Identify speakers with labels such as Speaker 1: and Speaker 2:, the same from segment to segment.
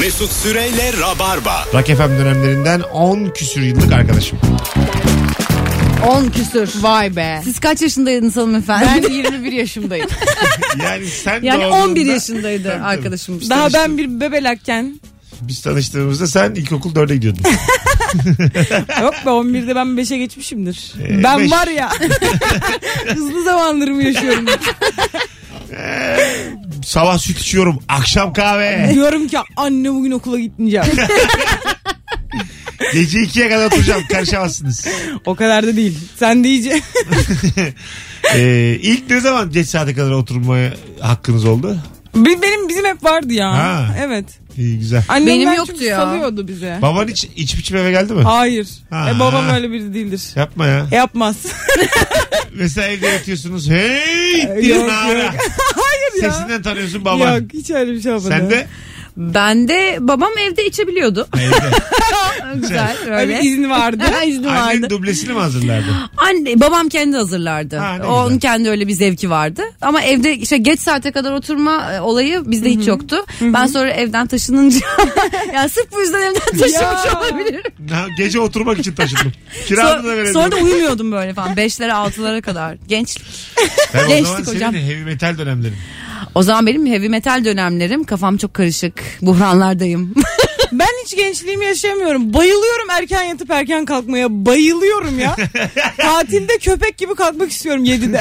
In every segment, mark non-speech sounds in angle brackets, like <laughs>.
Speaker 1: Mesut Süreyle Rabarba.
Speaker 2: Rock FM dönemlerinden 10 küsür yıllık arkadaşım.
Speaker 3: 10 küsür.
Speaker 4: Vay be.
Speaker 3: Siz kaç yaşındaydınız hanımefendi?
Speaker 4: Ben 21 yaşındayım.
Speaker 2: Yani
Speaker 3: <laughs>
Speaker 2: sen
Speaker 3: yani
Speaker 2: doğduğunda-
Speaker 3: 11 yaşındaydı
Speaker 2: Tabii, tabii.
Speaker 3: arkadaşımız.
Speaker 4: Daha ben bir bebelakken
Speaker 2: Biz tanıştığımızda sen ilkokul 4'e gidiyordun.
Speaker 4: <laughs> yok be 11'de ben 5'e geçmişimdir.
Speaker 2: Ee,
Speaker 4: ben
Speaker 2: beş.
Speaker 4: var ya <laughs> hızlı zamanlarımı
Speaker 2: <laughs>
Speaker 4: yaşıyorum.
Speaker 2: Sabah süt içiyorum. Akşam kahve.
Speaker 4: Diyorum ki anne bugün okula
Speaker 2: <laughs>
Speaker 4: gitmeyeceğim.
Speaker 2: Gece 2'ye kadar oturacağım.
Speaker 4: <laughs>
Speaker 2: Karışamazsınız.
Speaker 4: o kadar da değil. Sen de iyice. <laughs>
Speaker 2: Ee, ilk ne zaman geç saate kadar oturmaya hakkınız oldu?
Speaker 4: Bir- Benim bizim hep vardı ya.
Speaker 2: Ha.
Speaker 4: evet.
Speaker 2: İyi güzel.
Speaker 4: Annemler
Speaker 3: Benim
Speaker 4: çünkü
Speaker 3: yoktu ya.
Speaker 4: salıyordu bize.
Speaker 2: Baban hiç içip içip eve geldi mi?
Speaker 4: Hayır.
Speaker 2: Ha.
Speaker 4: E, babam öyle biri
Speaker 2: <laughs>
Speaker 4: değildir.
Speaker 2: Yapma ya.
Speaker 4: E, Yapmaz.
Speaker 2: Mesela evde yatıyorsunuz. Hey!
Speaker 4: Yok,
Speaker 2: diye
Speaker 4: yok. <laughs>
Speaker 2: bağıra.
Speaker 4: Hayır ya.
Speaker 2: Sesinden tanıyorsun baban.
Speaker 4: Yok hiç öyle bir şey olmadı.
Speaker 2: Sen de
Speaker 3: Ben de babam evde
Speaker 2: <laughs>
Speaker 3: içebiliyordu.
Speaker 2: evde.
Speaker 3: Güzel öyle.
Speaker 4: Öyle izin vardı.
Speaker 3: <laughs> İzni vardı.
Speaker 2: Annen dublesini
Speaker 4: <laughs>
Speaker 2: mi hazırlardı?
Speaker 3: Anne babam kendi hazırlardı.
Speaker 2: Ha, ne
Speaker 3: Onun
Speaker 2: güzel.
Speaker 3: kendi öyle bir zevki vardı. Ama evde işte geç saate kadar oturma e, olayı bizde hiç yoktu. Ben sonra evden taşınınca <laughs> ya sırf bu yüzden evden taşınmış
Speaker 4: Ya.
Speaker 3: olabilirim.
Speaker 2: Ha, Gece oturmak için taşındım. Kiranı da
Speaker 3: Sonra,
Speaker 2: verelim.
Speaker 3: sonra da uyumuyordum böyle falan. Beşlere altılara kadar. Gençlik.
Speaker 2: Ben o zaman
Speaker 3: Gençlik
Speaker 2: senin
Speaker 3: hocam.
Speaker 2: de heavy metal dönemlerim.
Speaker 3: O zaman benim heavy metal dönemlerim kafam çok karışık. Buhranlardayım.
Speaker 4: Ben hiç gençliğimi yaşayamıyorum. Bayılıyorum erken yatıp erken kalkmaya. Bayılıyorum
Speaker 2: <laughs>
Speaker 4: ya. Tatilde köpek gibi kalkmak istiyorum
Speaker 2: <laughs>
Speaker 4: 7'de.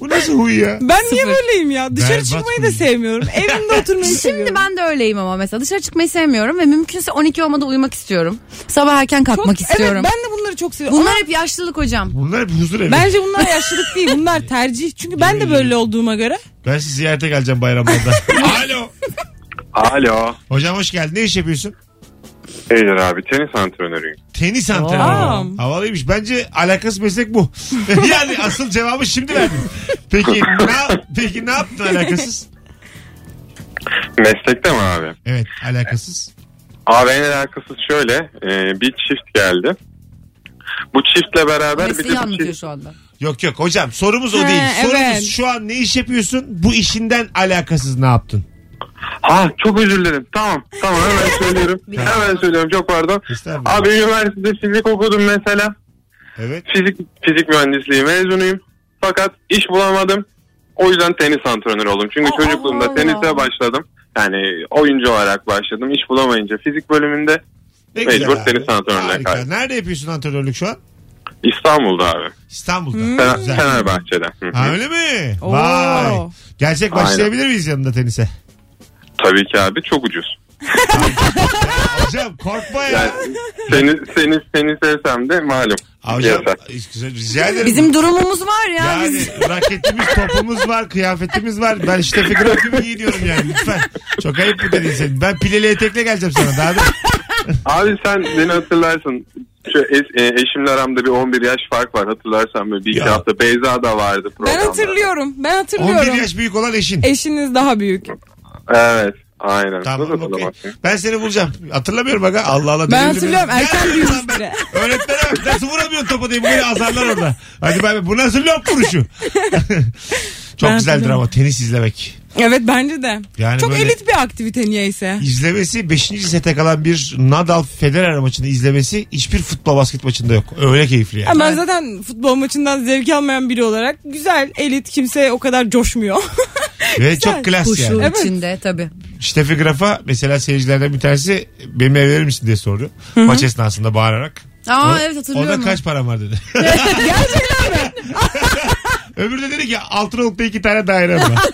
Speaker 2: Bu nasıl huy ya?
Speaker 4: Ben niye
Speaker 3: Sıfır.
Speaker 4: böyleyim ya? Dışarı
Speaker 2: Berbat
Speaker 4: çıkmayı da
Speaker 2: uyum.
Speaker 4: sevmiyorum. Evimde oturmayı seviyorum.
Speaker 3: Şimdi ben de öyleyim ama mesela dışarı çıkmayı sevmiyorum ve mümkünse 12 olmadan uyumak istiyorum. Sabah erken
Speaker 4: Çok-
Speaker 3: kalkmak istiyorum.
Speaker 4: Evet ben de bunları çok seviyorum.
Speaker 3: Bunlar hep yaşlılık hocam.
Speaker 2: Bunlar bir huzur evi. Ben,
Speaker 4: Bence bunlar yaşlılık değil. Bunlar tercih. Çünkü ben de
Speaker 2: Hmm.
Speaker 4: böyle olduğuma göre.
Speaker 2: sizi ziyarete geleceğim <laughs> bayramlarda. Alo.
Speaker 5: Alo.
Speaker 2: Hocam hoş geldin. Ne iş yapıyorsun?
Speaker 5: Eyler abi tenis antrenörüyüm.
Speaker 2: Tenis
Speaker 4: Aa.
Speaker 2: antrenörü. Havalıymış. Bence alakası meslek bu. <laughs> yani asıl cevabı şimdi verdim. Peki ne, yap- peki ne yaptın alakasız?
Speaker 5: Meslekte mi abi?
Speaker 2: Evet alakasız.
Speaker 5: Abi en alakası şöyle. e, bir çift geldi. Bu çiftle beraber bir şey-
Speaker 3: Mesleği
Speaker 5: de bu
Speaker 3: anlatıyor
Speaker 5: çift...
Speaker 3: şu anda.
Speaker 2: Yok yok hocam sorumuz o
Speaker 4: Ha,
Speaker 2: değil. Sorumuz
Speaker 4: evet.
Speaker 2: şu an ne iş yapıyorsun? Bu işinden alakasız ne yaptın?
Speaker 5: Ha çok özür dilerim. Tamam tamam
Speaker 3: <laughs>
Speaker 5: hemen söylüyorum. hemen söylüyorum çok pardon.
Speaker 2: Estağfurullah.
Speaker 5: Abi üniversitede fizik okudum mesela.
Speaker 2: Evet.
Speaker 5: Fizik fizik mühendisliği mezunuyum. Fakat iş bulamadım. O yüzden tenis antrenörü oldum. Çünkü
Speaker 3: Aa,
Speaker 5: çocukluğumda
Speaker 3: Allah.
Speaker 5: tenise başladım. Yani oyuncu olarak başladım. İş bulamayınca fizik bölümünde
Speaker 2: Ne
Speaker 5: Mecbur
Speaker 2: güzel abi.
Speaker 5: tenis antrenörüne
Speaker 2: Harika.
Speaker 5: kaydım.
Speaker 2: Nerede yapıyorsun antrenörlük şu an?
Speaker 5: İstanbul'da abi.
Speaker 2: İstanbul'da.
Speaker 5: Fener-
Speaker 2: Güzel.
Speaker 5: Fenerbahçe'de. Hı hı.
Speaker 2: Ha öyle mi?
Speaker 4: Oo.
Speaker 2: Vay. Gerçek
Speaker 5: Aynen.
Speaker 2: başlayabilir miyiz yanında tenise?
Speaker 5: Tabii ki abi çok ucuz.
Speaker 2: Hocam korkma ya.
Speaker 4: <laughs>
Speaker 5: Yani seni seni seni sevsem de malum.
Speaker 2: Hocam
Speaker 5: Yasak.
Speaker 2: rica ederim.
Speaker 3: Bizim durumumuz var ya. Biz...
Speaker 2: yani raketimiz, topumuz var, kıyafetimiz var. Ben işte figür gibi giyiniyorum yani lütfen. Çok ayıp bu dediğin senin. Ben pileli etekle geleceğim sana daha da.
Speaker 5: Abi sen beni hatırlarsın. Şu es- e, eşimle aramda bir 11 yaş fark var hatırlarsan böyle bir iki
Speaker 2: Ya.
Speaker 5: hafta Beyza da vardı
Speaker 4: Ben
Speaker 5: programda.
Speaker 4: hatırlıyorum. Ben
Speaker 2: 11
Speaker 4: hatırlıyorum.
Speaker 2: yaş büyük olan eşin.
Speaker 4: E- Eşiniz daha büyük.
Speaker 5: Evet aynen.
Speaker 2: Tamam
Speaker 5: Nasıl
Speaker 2: okey.
Speaker 5: hatırlamazsın?
Speaker 2: Ben seni bulacağım. Hatırlamıyorum aga. Allah Allah.
Speaker 4: Ben
Speaker 2: delirdim
Speaker 4: hatırlıyorum.
Speaker 2: ya.
Speaker 4: Erken
Speaker 2: Gel
Speaker 4: büyümüş
Speaker 2: lan <laughs> ben.
Speaker 4: biri.
Speaker 2: Öğretmene bak nasıl vuramıyorsun topu diye böyle azarlar orada. Hadi bay bay. Bu nasıl lop
Speaker 4: <laughs>
Speaker 2: vuruşu? Çok
Speaker 4: Ben
Speaker 2: güzeldir
Speaker 4: hatırlıyorum.
Speaker 2: ama tenis izlemek.
Speaker 4: Evet bence de.
Speaker 2: Yani
Speaker 4: Çok
Speaker 2: böyle-
Speaker 4: elit bir aktivite niyeyse.
Speaker 2: İzlemesi 5. sete kalan bir Nadal Federer maçını izlemesi hiçbir futbol basket maçında yok. Öyle keyifli yani.
Speaker 4: Ama E ben zaten futbol maçından zevk almayan biri olarak güzel, elit, kimse o kadar coşmuyor.
Speaker 2: Ve çok klas
Speaker 3: Huşu
Speaker 2: yani.
Speaker 4: Evet.
Speaker 3: içinde tabii.
Speaker 2: Steffi Graf'a mesela seyircilerden bir tanesi benim ev verir misin diye sordu. Maç esnasında bağırarak.
Speaker 3: Aa
Speaker 2: O-
Speaker 3: evet hatırlıyorum.
Speaker 2: Ona kaç param
Speaker 3: <laughs>
Speaker 2: var dedi.
Speaker 4: Gerçekten mi?
Speaker 2: <laughs> Öbürü de dedi ki Altınoluk'ta iki tane daire var. <laughs>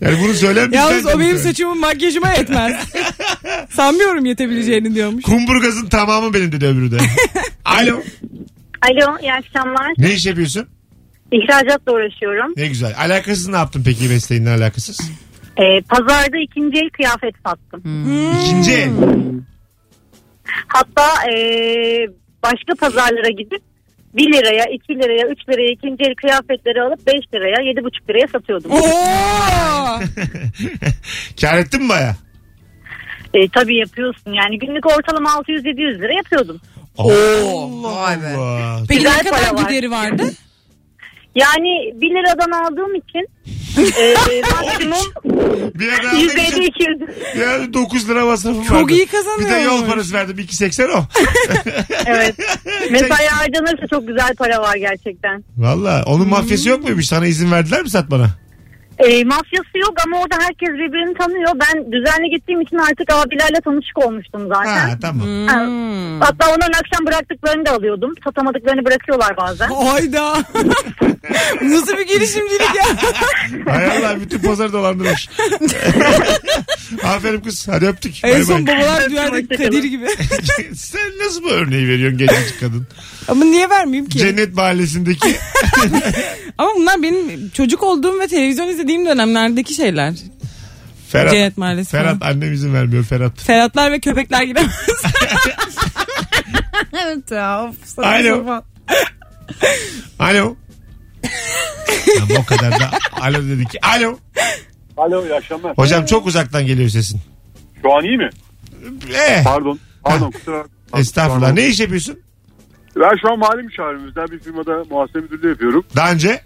Speaker 2: yani bunu söyler bizden
Speaker 4: Yalnız
Speaker 2: de
Speaker 4: o
Speaker 2: bu
Speaker 4: benim
Speaker 2: sefer.
Speaker 4: saçımın makyajıma yetmez. Sanmıyorum yetebileceğini diyormuş.
Speaker 2: Kumburgaz'ın tamamı benim dedi öbürü de. <laughs> Alo.
Speaker 6: Alo iyi akşamlar.
Speaker 2: Ne iş yapıyorsun?
Speaker 6: İhracatla uğraşıyorum.
Speaker 2: Ne güzel. Alakasız ne yaptın peki mesleğinle alakasız?
Speaker 6: Ee, pazarda ikinci el kıyafet sattım.
Speaker 3: Hmm.
Speaker 2: İkinci el. <laughs>
Speaker 6: Hatta ee, başka pazarlara gidip 1 liraya, 2 liraya, 3 liraya ikinci el kıyafetleri alıp 5 liraya, 7,5 liraya satıyordum.
Speaker 4: Oo!
Speaker 2: Kar ettin mi baya?
Speaker 6: Ee, tabii yapıyorsun yani günlük ortalama 600-700 lira yapıyordum.
Speaker 2: Oo.
Speaker 3: Vay be.
Speaker 2: Allah.
Speaker 4: Peki
Speaker 6: Güzel
Speaker 4: ne kadar
Speaker 6: para var.
Speaker 4: gideri vardı?
Speaker 6: Yani 1 liradan aldığım için Ee, maksimum
Speaker 2: Bir ara aldığım için-
Speaker 6: 150-200.
Speaker 2: Yani 9 lira masrafım
Speaker 4: Çok
Speaker 2: vardı.
Speaker 4: iyi kazanıyormuş.
Speaker 2: Bir de yol parası verdim 2.80 o.
Speaker 6: Evet. Mesai harcanırsa çok güzel para var gerçekten.
Speaker 2: Valla onun mafyası yok muymuş? Sana izin verdiler mi satmana?
Speaker 6: Ee, mafyası yok ama orada herkes birbirini tanıyor. Ben düzenli gittiğim için artık abilerle tanışık olmuştum zaten.
Speaker 2: Ha tamam.
Speaker 4: Hmm.
Speaker 6: Ha, Hatta onların akşam bıraktıklarını da alıyordum. Satamadıklarını bırakıyorlar bazen.
Speaker 4: Hayda. <laughs> Nasıl bir girişimcilik ya?
Speaker 2: Hay Allah bütün
Speaker 4: <laughs>
Speaker 2: pazarı dolandırmış. Aferin kız hadi öptük.
Speaker 4: en
Speaker 2: Bay
Speaker 4: son
Speaker 2: bay. Şey,
Speaker 4: babalar düğerdeki Kadir gibi. <laughs>
Speaker 2: Sen nasıl bu örneği veriyorsun gencecik kadın?
Speaker 4: Ama niye vermeyeyim ki?
Speaker 2: Cennet mahallesindeki
Speaker 4: Ama bunlar benim çocuk olduğum ve televizyon izlediğim dönemlerdeki şeyler.
Speaker 2: Ferhat.
Speaker 4: Cennet mahallesi
Speaker 2: Ferhat annem izin vermiyor Ferhat.
Speaker 4: Ferhatlar ve köpekler <laughs> giremez.
Speaker 3: evet ya. Of, saçma
Speaker 2: Alo.
Speaker 3: sapan.
Speaker 2: Alo. Ama o kadar da alo dedi ki alo.
Speaker 7: Alo iyi akşamlar.
Speaker 2: Hocam çok uzaktan geliyor sesin.
Speaker 7: Şu an iyi mi?
Speaker 2: Eh,
Speaker 7: Pardon. Pardon kusura
Speaker 2: <laughs>
Speaker 7: bakma.
Speaker 2: estağfurullah.
Speaker 7: Pardon.
Speaker 2: Ne iş yapıyorsun?
Speaker 7: Ben şu an mali müşavirimizden bir firmada muhasebe müdürlüğü yapıyorum.
Speaker 2: Daha önce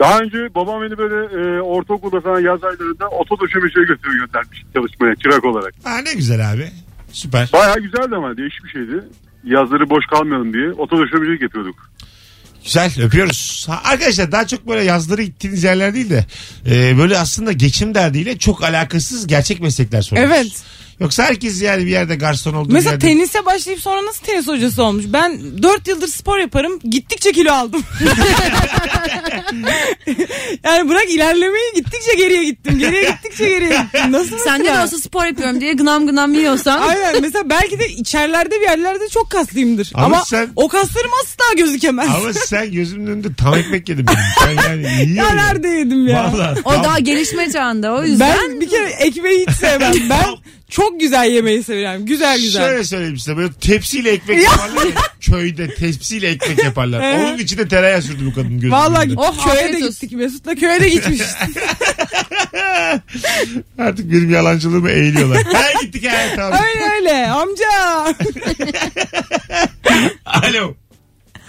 Speaker 7: Daha önce babam beni böyle e, ortaokulda falan yaz aylarında oto döşemeciye götürüyor göndermiş çalışmaya çırak olarak.
Speaker 2: Aa, ne güzel abi. Süper.
Speaker 7: Baya güzeldi ama değişik bir şeydi. Yazları boş kalmayalım diye oto döşemecilik yapıyorduk.
Speaker 2: Güzel öpüyoruz. Ha, arkadaşlar daha çok böyle yazları gittiğiniz yerler değil de e, böyle aslında geçim derdiyle çok alakasız gerçek meslekler soruyoruz.
Speaker 4: Evet.
Speaker 2: Yoksa herkes yani bir yerde garson olduğu
Speaker 4: Mesela
Speaker 2: yerde.
Speaker 4: tenise başlayıp sonra nasıl tenis hocası olmuş? Ben 4 yıldır spor yaparım. Gittikçe kilo
Speaker 2: <laughs>
Speaker 4: aldım. yani bırak ilerlemeyi gittikçe geriye gittim. Geriye gittikçe geriye gittim. Nasıl
Speaker 3: Sen ne
Speaker 4: mesela?
Speaker 3: de olsa spor yapıyorum diye gınam gınam yiyorsan.
Speaker 4: Aynen mesela belki de içerlerde bir yerlerde çok kaslıyımdır.
Speaker 2: Ama
Speaker 4: Ama,
Speaker 2: sen-
Speaker 4: o kaslarım asla gözükemez.
Speaker 2: Ama sen gözümün önünde tam ekmek yedim. benim. Sen yani
Speaker 4: <laughs>
Speaker 2: yiyor
Speaker 4: ya
Speaker 2: ya.
Speaker 4: nerede yedim ya?
Speaker 2: Vallahi
Speaker 3: O
Speaker 2: tam-
Speaker 3: daha gelişme çağında o yüzden. <laughs>
Speaker 4: Ben bir kere ekmeği hiç
Speaker 2: <laughs>
Speaker 4: sevmem. Ben çok güzel yemeği seviyorum. Güzel güzel.
Speaker 2: Şöyle söyleyeyim size böyle
Speaker 4: <laughs>
Speaker 2: tepsiyle ekmek yaparlar ya. Köyde tepsiyle ekmek yaparlar.
Speaker 4: Ee?
Speaker 2: Onun içine tereyağı sürdü bu kadın gözümün
Speaker 4: Vallahi
Speaker 2: önünde.
Speaker 3: Oh,
Speaker 4: köye de
Speaker 3: afiyet olsun.
Speaker 4: gittik Mesut'la köye de
Speaker 2: <laughs>
Speaker 4: gitmiş.
Speaker 2: Artık benim
Speaker 4: <laughs>
Speaker 2: yalancılığımı eğiliyorlar. Her gittik her tamam.
Speaker 4: öyle öyle amca.
Speaker 2: Alo.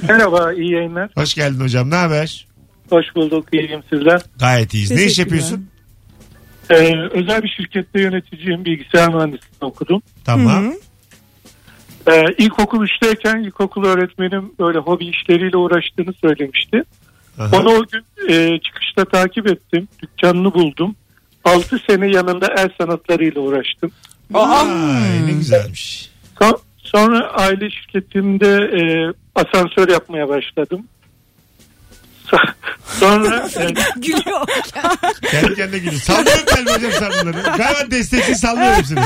Speaker 8: Merhaba, iyi yayınlar.
Speaker 2: Hoş geldin hocam ne haber?
Speaker 8: Hoş bulduk, iyiyim sizler.
Speaker 2: Gayet iyiyiz. Ne iş
Speaker 4: Teşekkürler.
Speaker 2: yapıyorsun?
Speaker 8: Ee, özel bir şirkette yöneticiyim, bilgisayar mühendisliğini okudum.
Speaker 2: Tamam.
Speaker 8: Ee, ilkokul 3'teyken ilkokul öğretmenim böyle hobi işleriyle uğraştığını söylemişti.
Speaker 2: Aha.
Speaker 8: Onu o gün e, çıkışta takip ettim, dükkanını buldum. 6 sene yanında el sanatlarıyla uğraştım.
Speaker 2: Ay, ne güzelmiş.
Speaker 8: So- sonra aile şirketimde e, asansör yapmaya başladım. So- sonra e,
Speaker 4: Gülüyor.
Speaker 2: Kendi kendine gülüyor. Sallıyorum ben hocam sen bunları. Galiba destekli sallıyorum seni.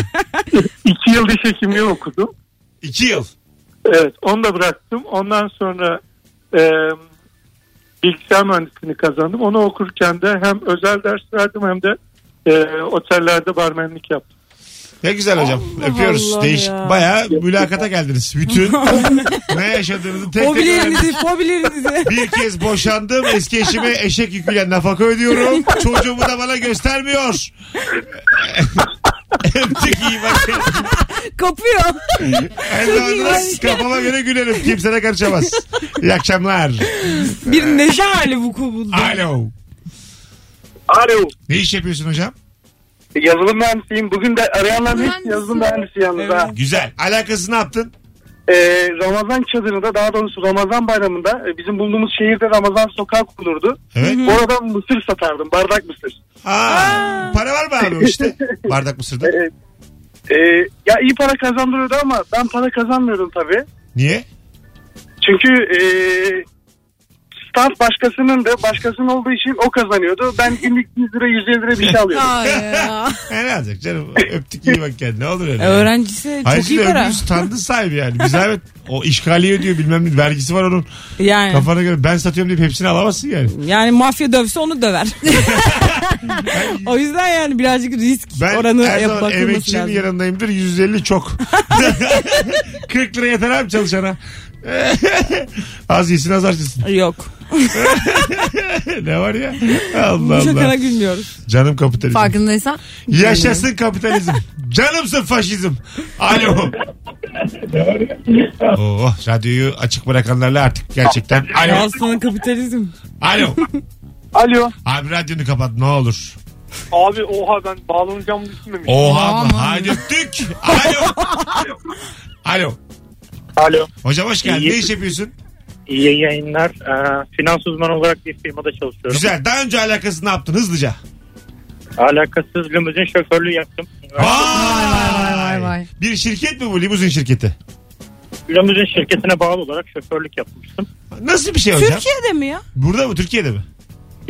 Speaker 8: iki yıl diş hekimliği okudum.
Speaker 2: İki yıl.
Speaker 8: Evet onu da bıraktım. Ondan sonra e, bilgisayar mühendisliğini kazandım. Onu okurken de hem özel ders verdim hem de e, otellerde barmenlik yaptım.
Speaker 2: Ne güzel hocam. Öpüyoruz.
Speaker 4: Allah
Speaker 2: Değişik.
Speaker 4: ya.
Speaker 2: Bayağı mülakata geldiniz.
Speaker 4: <laughs>
Speaker 2: Bütün ne yaşadığınızı tek tek öğrendiniz.
Speaker 4: Hobilerinizi, fobilerinizi.
Speaker 2: <laughs> Bir kez boşandım. Eski eşime eşek yüküyle nafaka ödüyorum. Çocuğumu da bana göstermiyor. <laughs> Öptük iyi bak.
Speaker 4: Kapıyor.
Speaker 2: Her zaman da kafama göre gülerim. Kimse de karışamaz. İyi akşamlar.
Speaker 4: Bir neşe hali vuku buldu.
Speaker 2: Alo.
Speaker 7: Alo.
Speaker 2: Ne iş yapıyorsun hocam?
Speaker 7: Yazılım mühendisiyim. Bugün de arayanların
Speaker 3: Mühendisi.
Speaker 7: hepsi yazılım mühendisi yalnız ha.
Speaker 2: Güzel. Alakası ne yaptın?
Speaker 7: Ee, Ramazan çadırında daha doğrusu Ramazan bayramında e, bizim bulunduğumuz şehirde Ramazan sokağı kurulurdu.
Speaker 2: Evet.
Speaker 7: Orada mısır satardım. Bardak mısır.
Speaker 2: Aa, para var mı abi o
Speaker 4: <laughs>
Speaker 2: işte? Bardak mısırda.
Speaker 7: Ee, ya iyi para kazandırıyordu ama ben para kazanmıyordum tabii.
Speaker 2: Niye?
Speaker 7: Çünkü eee stand başkasının da başkasının olduğu için o kazanıyordu. Ben günlük 100 lira 150 lira bir şey alıyordum.
Speaker 4: Ay ya.
Speaker 2: E, ne olacak canım? Öptük iyi bak kendine. Ne olur öyle.
Speaker 4: E, Öğrencisi
Speaker 2: Hayır
Speaker 4: çok iyi
Speaker 2: şimdi
Speaker 4: para.
Speaker 2: öbürü standın sahibi yani. Biz evet o işgali ödüyor bilmem ne vergisi var onun.
Speaker 4: Yani.
Speaker 2: Kafana göre ben satıyorum deyip hepsini alamazsın yani.
Speaker 4: Yani mafya dövse onu
Speaker 2: <laughs>
Speaker 4: döver. <laughs> o yüzden yani birazcık risk
Speaker 2: Ben
Speaker 4: oranı
Speaker 2: her
Speaker 4: yap
Speaker 2: zaman
Speaker 4: bakılması
Speaker 2: emekçinin
Speaker 4: lazım.
Speaker 2: yanındayımdır.
Speaker 4: <laughs>
Speaker 2: 150 çok. 40 lira yeter abi çalışana. az yesin az harcasın. <laughs>
Speaker 4: Yok.
Speaker 2: ne var ya? Allah
Speaker 4: Bu şakana
Speaker 2: Allah.
Speaker 4: gülmüyoruz.
Speaker 2: Canım kapitalizm.
Speaker 3: Farkındaysan.
Speaker 2: Yaşasın kapitalizm. Canımsın faşizm. Alo. Oh, Oo, Hani- radyoyu açık bırakanlarla artık gerçekten. Alo.
Speaker 4: Aslında kapitalizm.
Speaker 2: Alo.
Speaker 7: Alo.
Speaker 2: Abi radyonu kapat ne olur.
Speaker 7: Abi oha ben bağlanacağımı düşünmemiştim.
Speaker 2: Oha mı?
Speaker 3: Aman.
Speaker 2: Hadi öptük. Alo. Alo.
Speaker 9: Alo,
Speaker 2: Hocam hoş geldin.
Speaker 9: İyi.
Speaker 2: Ne iş yapıyorsun?
Speaker 9: iyi yayınlar. Ee, finans uzmanı olarak bir firmada çalışıyorum.
Speaker 2: Güzel. Daha önce alakası ne yaptın hızlıca?
Speaker 9: Alakasız limuzin şoförlüğü yaptım.
Speaker 2: Vay
Speaker 3: vay, vay, vay.
Speaker 2: Bir şirket mi bu limuzin şirketi?
Speaker 9: Limuzin şirketine bağlı olarak şoförlük yapmıştım.
Speaker 2: Nasıl bir şey hocam?
Speaker 4: Türkiye'de mi ya?
Speaker 2: Burada mı? Türkiye'de mi?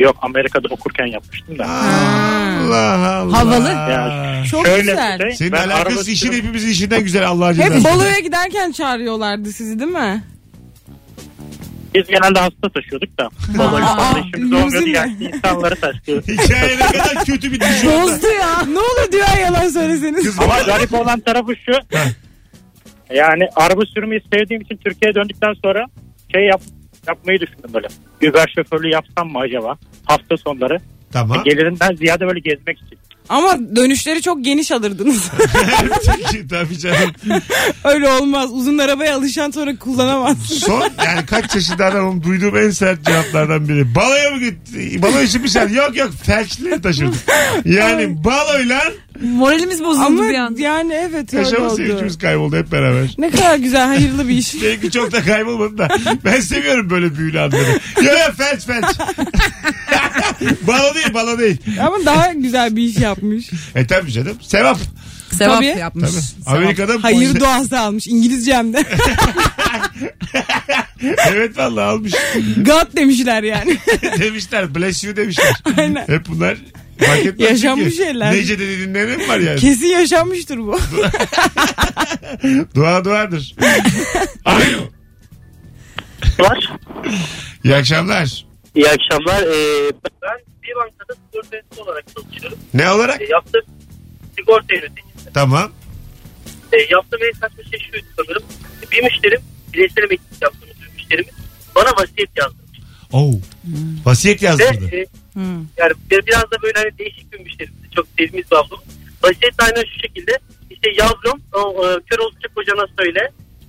Speaker 9: Yok Amerika'da okurken yapmıştım da.
Speaker 2: Allah Allah.
Speaker 3: Havalı.
Speaker 9: Ya,
Speaker 4: Çok
Speaker 9: Şöyle
Speaker 4: güzel.
Speaker 9: bir şey,
Speaker 2: Senin
Speaker 9: ben araba
Speaker 2: alakası işin
Speaker 9: sürüyorum.
Speaker 2: hepimizin işinden güzel Allah'a
Speaker 4: Hep
Speaker 2: cezası.
Speaker 4: baloya giderken çağırıyorlardı sizi değil mi?
Speaker 9: Biz genelde hasta taşıyorduk da. Dolayı fazla işimiz
Speaker 4: limuzin
Speaker 9: olmuyordu.
Speaker 4: mi?
Speaker 9: Yaşlı insanları
Speaker 2: <laughs>
Speaker 9: taşıyoruz.
Speaker 2: Hikaye ne kadar kötü bir dizi.
Speaker 4: Bozdu ya. ne olur diyor ya yalan söyleseniz.
Speaker 9: Ama garip olan tarafı şu. yani araba sürmeyi sevdiğim için Türkiye'ye döndükten sonra şey yap, yapmayı düşündüm böyle. Uber şoförlüğü yapsam mı acaba? Hafta sonları.
Speaker 2: Tamam.
Speaker 9: Gelirinden ziyade böyle gezmek için.
Speaker 4: Ama dönüşleri çok geniş alırdınız. <laughs>
Speaker 2: Çünkü <laughs> Tabii canım.
Speaker 4: Öyle olmaz. Uzun arabaya alışan sonra kullanamazsın.
Speaker 2: Son yani kaç yaşında adamım duyduğum en sert cevaplardan biri. Baloya mı gitti? Balo için bir şey. Yok yok felçleri taşıdık. Yani baloyla
Speaker 3: Moralimiz bozuldu
Speaker 4: Ama
Speaker 3: bir anda.
Speaker 4: yani evet öyle
Speaker 2: yaşama
Speaker 4: oldu.
Speaker 2: sevincimiz kayboldu hep beraber.
Speaker 4: Ne kadar güzel hayırlı bir iş.
Speaker 2: <laughs> Belki çok da kaybolmadı da. Ben seviyorum böyle büyülü anları. Ya ya felç felç. <laughs> balo değil balo değil.
Speaker 4: Ama daha güzel bir iş yapmış.
Speaker 2: E tabii canım. Sevap.
Speaker 3: Sevap
Speaker 4: Tabii.
Speaker 3: yapmış.
Speaker 2: Tabii.
Speaker 3: Sevap.
Speaker 2: Amerika'da
Speaker 4: Hayır duası almış İngilizcem
Speaker 2: <laughs>
Speaker 4: de.
Speaker 2: Evet vallahi almış.
Speaker 4: God demişler yani.
Speaker 2: <laughs> demişler bless you demişler.
Speaker 4: Aynen.
Speaker 2: Hep bunlar fark etmez
Speaker 4: Yaşanmış
Speaker 2: çünkü.
Speaker 4: şeyler.
Speaker 2: Nece dediğinde mi var yani?
Speaker 4: Kesin yaşanmıştır bu. <laughs>
Speaker 2: Dua duadır. Alo.
Speaker 9: Var.
Speaker 2: İyi akşamlar.
Speaker 9: İyi akşamlar. Ee, ben bir bankada sigortacı olarak çalışıyorum.
Speaker 2: Ne olarak?
Speaker 9: Ee, yaptığım sigorta yöneticisi.
Speaker 2: Tamam.
Speaker 9: Ee, yaptığım en saçma şey şuydu sanırım. Bir müşterim, bireysel emeklilik yaptığımız bir müşterimiz bana vasiyet yazdırmış.
Speaker 2: Oo. Oh. Vasiyet
Speaker 9: Ve
Speaker 2: yazdırdı.
Speaker 9: e, yani bir- biraz da böyle hani değişik bir müşterimizdi. Çok sevdiğimiz bir ablam. Vasiyet de aynen şu şekilde. İşte yavrum o, e, kör olacak hocana söyle.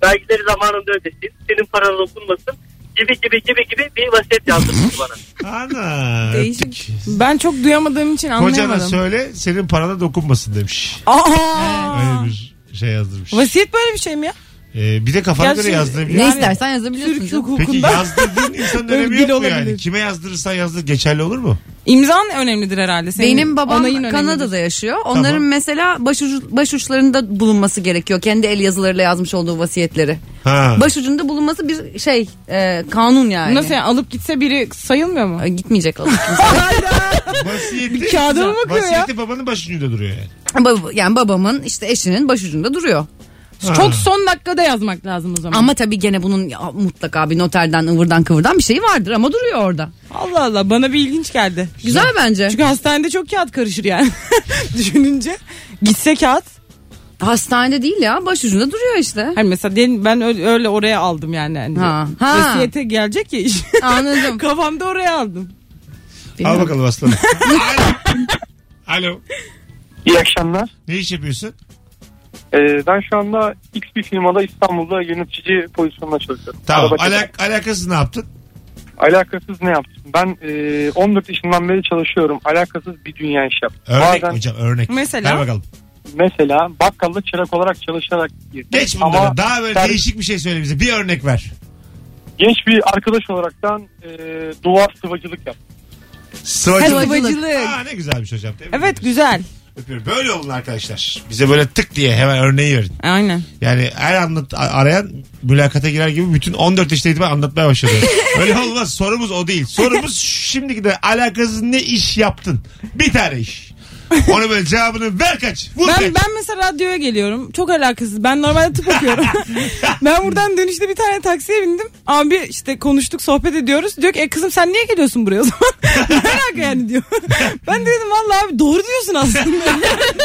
Speaker 9: Vergileri zamanında ödesin. Senin paran okunmasın. Gibi gibi gibi gibi bir vasiyet yazdırmış bana.
Speaker 2: Ana.
Speaker 3: Değişik.
Speaker 2: öptük.
Speaker 4: Ben çok duyamadığım için
Speaker 2: Kocana
Speaker 4: anlayamadım.
Speaker 2: söyle senin parana dokunmasın demiş.
Speaker 4: Aa!
Speaker 2: Öyle bir şey yazdırmış.
Speaker 4: Vasiyet böyle bir şey mi ya?
Speaker 2: Ee, bir de kafana
Speaker 4: Gerçi-
Speaker 2: göre yazdırabilir.
Speaker 3: Ne
Speaker 4: Yani-
Speaker 3: istersen yazabiliyorsun.
Speaker 4: Türk
Speaker 3: canım.
Speaker 2: Peki
Speaker 4: hukukunda
Speaker 2: yazdırdığın insanın
Speaker 4: Böyle
Speaker 2: önemi
Speaker 4: bir
Speaker 2: yok mu
Speaker 4: olabilir.
Speaker 2: yani? Kime yazdırırsan yazdır geçerli olur mu?
Speaker 4: imzan önemlidir herhalde. Senin
Speaker 3: Benim babam
Speaker 4: onayın önemlidir.
Speaker 3: Kanada'da yaşıyor. Onların
Speaker 2: Tamam.
Speaker 3: mesela başucu, başuçlarında bulunması gerekiyor. Kendi el yazılarıyla yazmış olduğu vasiyetleri.
Speaker 2: Ha.
Speaker 3: Başucunda bulunması bir şey e, kanun yani.
Speaker 4: Nasıl yani alıp gitse biri sayılmıyor mu?
Speaker 3: E, Gitmeyecek alıp
Speaker 4: <laughs>
Speaker 3: kimse.
Speaker 2: Vasiyeti,
Speaker 4: Bir kağıda mı bakıyor ya?
Speaker 2: vasiyeti babanın başucunda duruyor yani.
Speaker 3: Bab- yani babamın işte eşinin başucunda duruyor.
Speaker 2: Ha.
Speaker 4: Çok son dakikada yazmak lazım o zaman.
Speaker 3: Ama tabii gene bunun ya, mutlaka bir noterden ıvırdan kıvırdan bir şeyi vardır ama duruyor orada.
Speaker 4: Allah Allah bana bir ilginç geldi.
Speaker 3: Güzel bence.
Speaker 4: Çünkü hastanede çok kağıt karışır yani. <laughs> Düşününce gitse kağıt.
Speaker 3: Hastanede değil ya başucunda duruyor işte.
Speaker 4: Hani mesela diyelim ben öyle, öyle oraya aldım yani. yani
Speaker 3: Ha. Ha.
Speaker 4: Vasiyete gelecek ya iş.
Speaker 3: Anladım.
Speaker 4: <laughs> Kafamda oraya aldım.
Speaker 2: Al
Speaker 3: Bilmiyorum.
Speaker 2: bakalım
Speaker 4: <laughs>
Speaker 2: aslanım. Alo. Alo.
Speaker 7: İyi akşamlar.
Speaker 2: Ne iş yapıyorsun?
Speaker 7: Ee, ben şu anda X bir firmada İstanbul'da yönetici pozisyonuna çalışıyorum.
Speaker 2: Tamam.
Speaker 7: Arabacıda.
Speaker 2: Alak, alakasız ne yaptın?
Speaker 7: Alakasız ne yaptım? Ben e, 14 yaşından beri çalışıyorum. Alakasız bir dünya iş yaptım.
Speaker 2: Örnek
Speaker 7: Bazen
Speaker 2: hocam örnek.
Speaker 4: Mesela?
Speaker 2: Ver bakalım.
Speaker 7: mesela bakkalda çırak olarak çalışarak girdim.
Speaker 2: Geç bunları.
Speaker 7: Ama
Speaker 2: Daha böyle
Speaker 7: sen-
Speaker 2: değişik bir şey söyle bize. Bir örnek ver.
Speaker 7: genç bir arkadaş olaraktan e, duvar sıvacılık yaptım.
Speaker 2: Sıvacılık.
Speaker 4: Sıvacılık.
Speaker 2: Aa ne güzelmiş hocam. Tebrik
Speaker 4: Evet
Speaker 2: ederiz.
Speaker 4: güzel.
Speaker 2: Öpüyorum. Böyle olun arkadaşlar. Bize böyle tık diye hemen örneği verin.
Speaker 4: Aynen.
Speaker 2: Yani her anlat a- arayan mülakata girer gibi bütün 14 yaşta itibaren
Speaker 4: <laughs>
Speaker 2: anlatmaya başladı. Öyle olmaz. Sorumuz o değil. Sorumuz şimdiki de alakasız ne iş yaptın? Bir tane iş. Onu böyle cevabını ver kaç. Vur kaç.
Speaker 4: Ben, ben mesela radyoya geliyorum. Çok alakasız. Ben normalde tıp
Speaker 3: <laughs>
Speaker 4: okuyorum. ben buradan dönüşte bir tane taksiye bindim. Abi işte konuştuk sohbet ediyoruz. Diyor ki e kızım sen niye geliyorsun buraya o zaman? <laughs> ne alaka yani diyor. <laughs> ben de dedim vallahi abi doğru diyorsun aslında.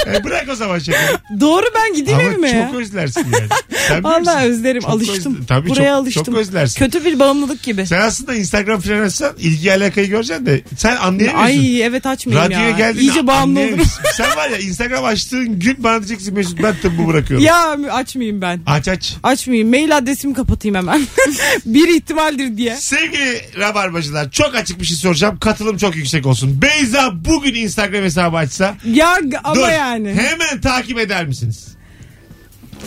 Speaker 4: <laughs>
Speaker 2: E, bırak o zaman şekeri.
Speaker 4: doğru ben gideyim
Speaker 2: Ama
Speaker 4: evime
Speaker 2: çok
Speaker 4: ya.
Speaker 2: özlersin yani. Sen
Speaker 4: Vallahi
Speaker 2: bilirsin.
Speaker 4: özlerim
Speaker 2: Çok
Speaker 4: alıştım.
Speaker 2: özle- Tabii
Speaker 4: Buraya
Speaker 2: çok,
Speaker 4: alıştım.
Speaker 2: Çok özlersin.
Speaker 4: Kötü bir bağımlılık gibi.
Speaker 2: Sen aslında Instagram falan açsan ilgi alakayı göreceksin de sen anlayamıyorsun.
Speaker 4: Ay evet açmayayım
Speaker 2: Radyoya
Speaker 4: ya.
Speaker 2: geldiğinde
Speaker 4: İyice bağımlı <laughs>
Speaker 2: Hayır sen var ya Instagram açtığın gün bana diyeceksin Mesut ben tıbbı bırakıyorum.
Speaker 4: Ya açmayayım ben.
Speaker 2: Aç aç.
Speaker 4: Açmayayım. Mail adresimi kapatayım hemen. <laughs> bir ihtimaldir diye.
Speaker 2: Sevgili Rabarbacılar çok açık bir şey soracağım. Katılım çok yüksek olsun. Beyza bugün Instagram hesabı açsa
Speaker 4: Ya g- ama
Speaker 2: dur,
Speaker 4: yani.
Speaker 2: hemen takip eder misiniz?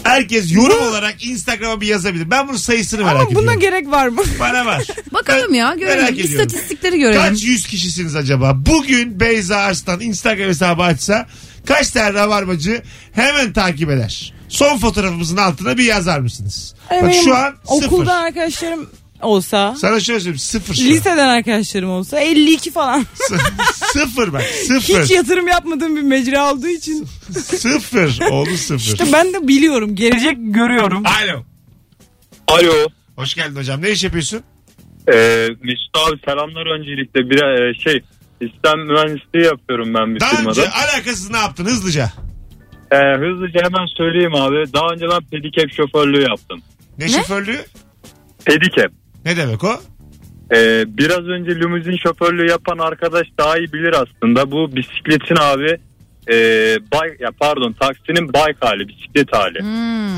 Speaker 2: Herkes yorum olarak Instagram'a bir yazabilir. Ben bunun sayısını merak
Speaker 4: Ama buna
Speaker 2: ediyorum.
Speaker 4: gerek var mı? <laughs>
Speaker 2: Bana var.
Speaker 3: Bakalım ya
Speaker 2: merak
Speaker 3: görelim.
Speaker 2: ediyorum.
Speaker 3: İstatistikleri görelim.
Speaker 2: Kaç yüz kişisiniz acaba? Bugün Beyza Arslan Instagram hesabı açsa kaç tane rabarbacı hemen takip eder? Son fotoğrafımızın altına bir yazar mısınız? <laughs> Bak
Speaker 4: Benim
Speaker 2: şu an sıfır.
Speaker 4: Okuldan arkadaşlarım olsa.
Speaker 2: Sana şöyle söyleyeyim sıfır şu an.
Speaker 4: Liseden arkadaşlarım olsa 52 falan.
Speaker 2: <laughs> sıfır bak sıfır.
Speaker 4: Hiç yatırım yapmadığım bir mecra olduğu için.
Speaker 2: sıfır. Oldu sıfır.
Speaker 4: İşte ben de biliyorum. Gelecek görüyorum. <laughs>
Speaker 2: Alo.
Speaker 1: Alo.
Speaker 2: Hoş geldin hocam. Ne iş yapıyorsun?
Speaker 1: Ee, Mesut abi selamlar öncelikle. Bir e, şey sistem mühendisliği yapıyorum ben bir
Speaker 2: Daha
Speaker 1: firmada.
Speaker 2: önce alakasız ne yaptın hızlıca?
Speaker 1: Ee, hızlıca hemen söyleyeyim abi. Daha önce ben pedikep şoförlüğü yaptım.
Speaker 2: Ne, şoförlüğü?
Speaker 1: Pedikep.
Speaker 2: Ne demek o?
Speaker 1: Ee, biraz önce limuzin şoförlüğü yapan arkadaş daha iyi bilir aslında. Bu bisikletin abi e, bay, ya pardon taksinin bike hali, bisiklet hali.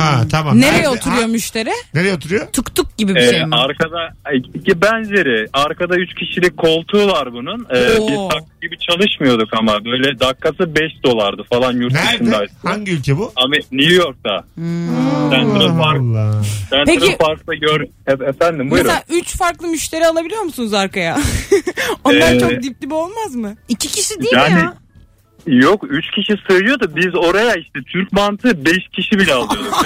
Speaker 2: Ha tamam.
Speaker 4: Hmm. Nereye
Speaker 2: Ha,
Speaker 4: oturuyor
Speaker 2: ha,
Speaker 4: müşteri?
Speaker 2: nereye oturuyor?
Speaker 3: Tuk tuk gibi bir
Speaker 1: Ee,
Speaker 3: şey mi?
Speaker 1: arkada iki benzeri. Arkada üç kişilik koltuğu var bunun. Ee,
Speaker 4: Oo.
Speaker 1: biz taksi gibi çalışmıyorduk ama böyle dakikası 5 dolardı falan yurt
Speaker 2: Nerede?
Speaker 1: dışındaydı.
Speaker 2: Hangi ülke bu?
Speaker 1: Ama New York'ta. Central
Speaker 2: Allah
Speaker 1: Park.
Speaker 2: Allah.
Speaker 1: Central
Speaker 4: Peki-
Speaker 1: Park'ta gör. E- efendim buyurun.
Speaker 4: Mesela 3 farklı müşteri alabiliyor musunuz arkaya? <laughs> Onlar
Speaker 1: Ee,
Speaker 4: çok dip dip olmaz mı?
Speaker 3: İki kişi değil mi
Speaker 1: yani-
Speaker 3: ya?
Speaker 1: Yok 3 kişi sığıyor da biz oraya işte Türk mantığı 5 kişi
Speaker 3: <laughs>
Speaker 1: bile alıyorduk.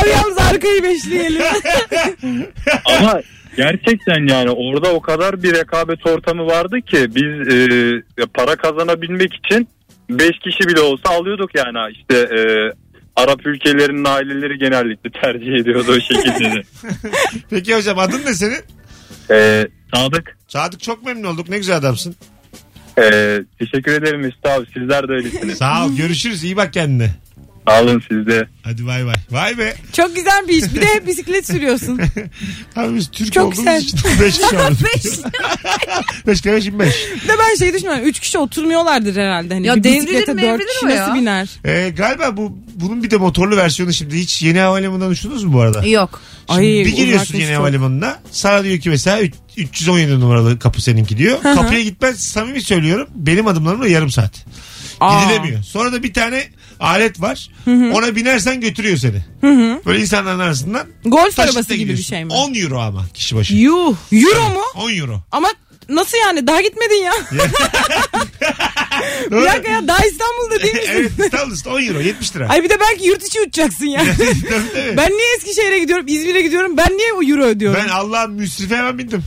Speaker 4: Abi yalnız arkayı beşleyelim.
Speaker 1: Ama gerçekten yani orada o kadar bir rekabet ortamı vardı ki biz e, ya para kazanabilmek için 5 kişi bile olsa alıyorduk yani işte e, Arap ülkelerinin aileleri genellikle tercih ediyordu
Speaker 5: <laughs>
Speaker 1: o şekilde. de.
Speaker 2: Peki hocam adın ne senin?
Speaker 1: e, Sadık
Speaker 2: Sadık çok memnun olduk. Ne güzel adamsın.
Speaker 1: e, teşekkür ederim Mesut abi sizler de öylesiniz.
Speaker 2: Sağ ol. Görüşürüz. İyi bak kendine.
Speaker 1: Sağ olun siz de.
Speaker 2: Hadi bay bay. Vay be.
Speaker 4: çok güzel bir iş. Bir de hep bisiklet sürüyorsun.
Speaker 2: Abi biz Türk
Speaker 4: Çok
Speaker 2: olduğumuz
Speaker 4: güzel.
Speaker 2: için <laughs>
Speaker 4: <laughs>
Speaker 2: 5 kişi aldık. <laughs> 5 kere 25.
Speaker 4: Bir de ben şey düşünüyorum. Üç kişi oturmuyorlardır herhalde. Hani
Speaker 3: Ya
Speaker 4: bir
Speaker 3: devrilir
Speaker 4: bisiklete
Speaker 3: mevrilir
Speaker 4: dört kişi
Speaker 3: o ya.
Speaker 4: nasıl biner?
Speaker 2: Ee, galiba bu bunun bir de motorlu versiyonu şimdi hiç yeni havalimanından uçtunuz mu bu arada?
Speaker 3: Yok.
Speaker 2: Şimdi
Speaker 4: Ay,
Speaker 2: bir giriyorsun
Speaker 4: uzaklaştı.
Speaker 2: yeni havalimanına sana diyor ki mesela üç- 317 numaralı kapı seninki diyor.
Speaker 4: hı.
Speaker 2: Kapıya gitmez samimi söylüyorum benim adımlarımla yarım saat.
Speaker 4: Aa.
Speaker 2: Gidilemiyor. Sonra da bir tane alet var ona binersen götürüyor seni. Böyle insanların arasından.
Speaker 4: Golf
Speaker 2: taşıtla
Speaker 4: arabası gibi bir
Speaker 2: gidiyorsun.
Speaker 4: şey mi?
Speaker 2: 10 euro ama kişi başı.
Speaker 4: Yuh. Euro mu?
Speaker 2: 10 euro.
Speaker 4: Ama nasıl yani? Daha gitmedin ya.
Speaker 2: Doğru.
Speaker 4: <laughs> bir dakika ya. Daha İstanbul'da değil misin?
Speaker 2: <laughs> evet İstanbul'da 10 euro 70 lira.
Speaker 4: <laughs> Ay bir de belki yurt içi uçacaksın ya.
Speaker 2: <laughs> Tabii, tabii.
Speaker 4: ben niye Eskişehir'e gidiyorum, İzmir'e gidiyorum? Ben niye o euro ödüyorum?
Speaker 2: Ben Allah'ın müsrife hemen bindim.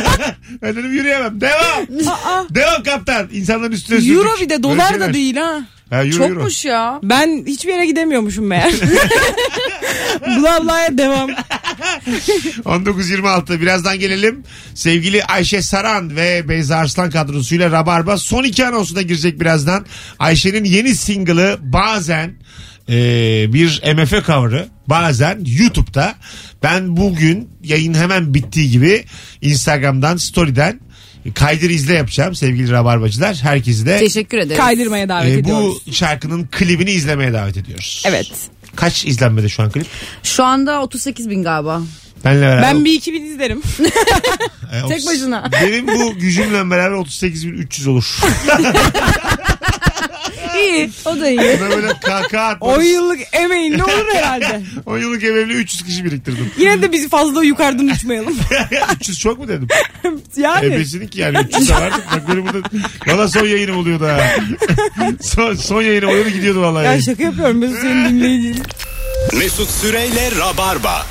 Speaker 2: <laughs> ben dedim yürüyemem. Devam.
Speaker 4: Aa,
Speaker 2: Devam kaptan. İnsanların üstüne sürdük.
Speaker 4: euro bir de
Speaker 2: Böyle
Speaker 4: dolar
Speaker 2: şeyler.
Speaker 4: da değil ha.
Speaker 2: Ha, euro, euro.
Speaker 3: Çokmuş ya.
Speaker 4: Ben hiçbir yere gidemiyormuşum meğer. <laughs> Bla bla'ya devam.
Speaker 2: 19.26 birazdan gelelim. Sevgili Ayşe Saran ve Beyza Arslan kadrosuyla Rabarba son iki anonsuna girecek birazdan. Ayşe'nin yeni single'ı bazen e, bir MF cover'ı bazen YouTube'da. Ben bugün yayın hemen bittiği gibi Instagram'dan, Story'den kaydır izle yapacağım sevgili Rabarbacılar. Herkesi de
Speaker 3: Teşekkür ederim.
Speaker 4: Kaydırmaya davet
Speaker 2: e, bu
Speaker 4: ediyoruz.
Speaker 2: şarkının klibini izlemeye davet ediyoruz.
Speaker 4: Evet.
Speaker 2: Kaç izlenmede şu an klip?
Speaker 3: Şu anda 38 bin galiba.
Speaker 2: Benle beraber.
Speaker 4: Ben bir iki bin izlerim.
Speaker 2: E,
Speaker 3: Tek
Speaker 2: otuz-
Speaker 3: başına.
Speaker 2: <laughs> Benim bu gücümle beraber 38.300 olur.
Speaker 3: <laughs> İyi. O da iyi.
Speaker 2: Buna böyle kahkaha
Speaker 4: O
Speaker 2: atmanız.
Speaker 4: yıllık emeğin ne olur herhalde.
Speaker 2: 10 yıllık evimle 300 kişi biriktirdim. <laughs>
Speaker 4: Yine de bizi fazla yukarıdan uçmayalım. <laughs>
Speaker 2: 300 çok mu dedim?
Speaker 4: Yani.
Speaker 2: Ebesini ki yani 300 de vardı. Bak benim burada valla son yayınım oluyordu ha. son, son yayınım oluyordu gidiyordu valla.
Speaker 4: Ya
Speaker 2: yayın.
Speaker 4: şaka yapıyorum Mesut senin dinleyicin.
Speaker 10: Mesut Süreyle Rabarba.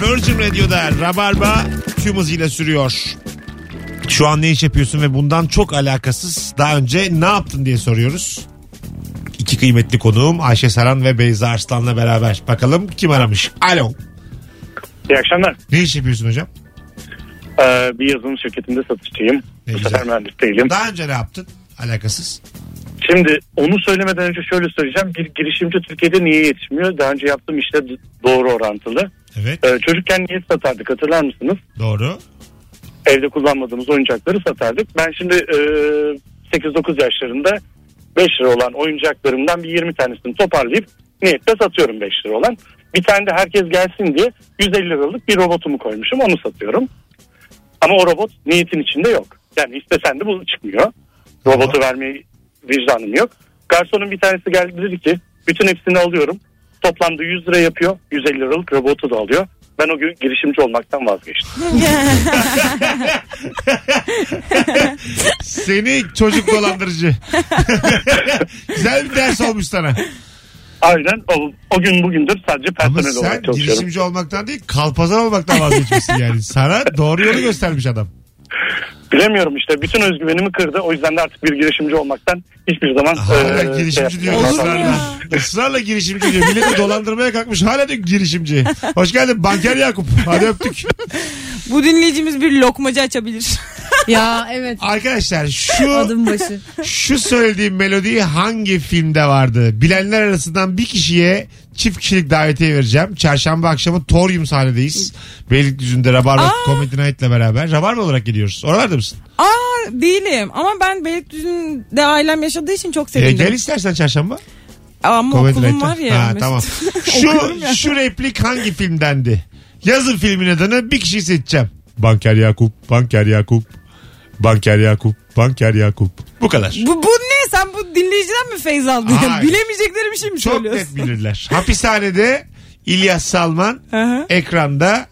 Speaker 2: Virgin Radio'da Rabarba tüm hızıyla sürüyor. Şu an ne iş yapıyorsun ve bundan çok alakasız daha önce ne yaptın diye soruyoruz. İki kıymetli konuğum Ayşe Saran ve Beyza Arslan'la beraber. Bakalım kim aramış? Alo.
Speaker 7: İyi akşamlar.
Speaker 2: Ne iş yapıyorsun hocam?
Speaker 7: Ee, bir yazılım şirketinde satışçıyım.
Speaker 2: Ne
Speaker 7: Bu
Speaker 2: güzel.
Speaker 7: sefer mühendis değilim.
Speaker 2: Daha önce ne yaptın? Alakasız.
Speaker 7: Şimdi onu söylemeden önce şöyle söyleyeceğim. Bir girişimci Türkiye'de niye yetişmiyor? Daha önce yaptığım işle d- doğru orantılı.
Speaker 2: Evet
Speaker 1: E,
Speaker 7: Ee, çocukken niye satardık hatırlar mısınız?
Speaker 2: doğru.
Speaker 7: Evde kullanmadığımız oyuncakları satardık. Ben şimdi e,
Speaker 1: 8-9 yaşlarında 5 lira olan oyuncaklarımdan bir 20 tanesini toparlayıp niyetle satıyorum 5 lira olan. Bir tane de herkes gelsin diye 150 liralık bir robotumu koymuşum onu satıyorum. Ama o robot niyetin içinde yok. Yani istesen de bu çıkmıyor. Robotu vermeye vicdanım yok. Garsonun bir tanesi geldi dedi ki bütün hepsini alıyorum. Toplamda 100 lira yapıyor. 150 liralık robotu da alıyor. Ben o gün girişimci olmaktan vazgeçtim.
Speaker 2: Seni çocuk dolandırıcı. <laughs> Güzel bir ders olmuş sana.
Speaker 1: Aynen o, o gün bugündür sadece
Speaker 2: Ama
Speaker 1: personel
Speaker 2: sen
Speaker 1: olarak çalışıyorum.
Speaker 2: girişimci olmaktan değil kalpazan olmaktan vazgeçmişsin yani. Sana doğru yolu göstermiş adam.
Speaker 1: Bilemiyorum işte bütün özgüvenimi kırdı. O yüzden de artık bir girişimci olmaktan hiçbir zaman
Speaker 2: Hala
Speaker 1: eee,
Speaker 2: girişimci
Speaker 1: şey
Speaker 2: diyor.
Speaker 1: yapmıyorum.
Speaker 4: Ee, Olur mu
Speaker 2: ısrarla. Israrla girişimci diyor. Milleti dolandırmaya kalkmış. Hala diyor ki girişimci. Hoş geldin banker Yakup. Hadi öptük.
Speaker 4: Bu dinleyicimiz bir lokmacı açabilir. <laughs>
Speaker 3: ya
Speaker 2: <laughs>
Speaker 3: evet.
Speaker 2: Arkadaşlar şu
Speaker 3: Adım başı.
Speaker 2: şu söylediğim melodiyi hangi filmde vardı? Bilenler arasından bir kişiye çift kişilik davetiye vereceğim. Çarşamba akşamı Torium sahnedeyiz. Beylikdüzü'nde Rabarba Comedy Night'le beraber. Rabarba olarak gidiyoruz. Oralarda mısın?
Speaker 4: Aa değilim ama ben Beylikdüzü'nde ailem yaşadığı için çok
Speaker 2: Ee,
Speaker 4: sevindim.
Speaker 2: gel istersen çarşamba.
Speaker 4: ama
Speaker 2: Comedy
Speaker 4: okulum
Speaker 2: Night'ta.
Speaker 4: var ya.
Speaker 2: Ha,
Speaker 4: Mesut. <laughs>
Speaker 2: tamam. Şu, şu replik hangi filmdendi? Yazın filmin adını bir kişiyi seçeceğim. Banker Yakup, Banker Yakup, Banker Yakup, Banker Yakup. Bu kadar.
Speaker 4: Bu, bu ne? Sen bu dinleyiciden mi feyz aldın?
Speaker 2: Hayır.
Speaker 4: Bilemeyecekleri bir şey mi
Speaker 2: Çok
Speaker 4: söylüyorsun?
Speaker 2: net bilirler. Hapishanede İlyas Salman
Speaker 4: Hı hı.
Speaker 2: ekranda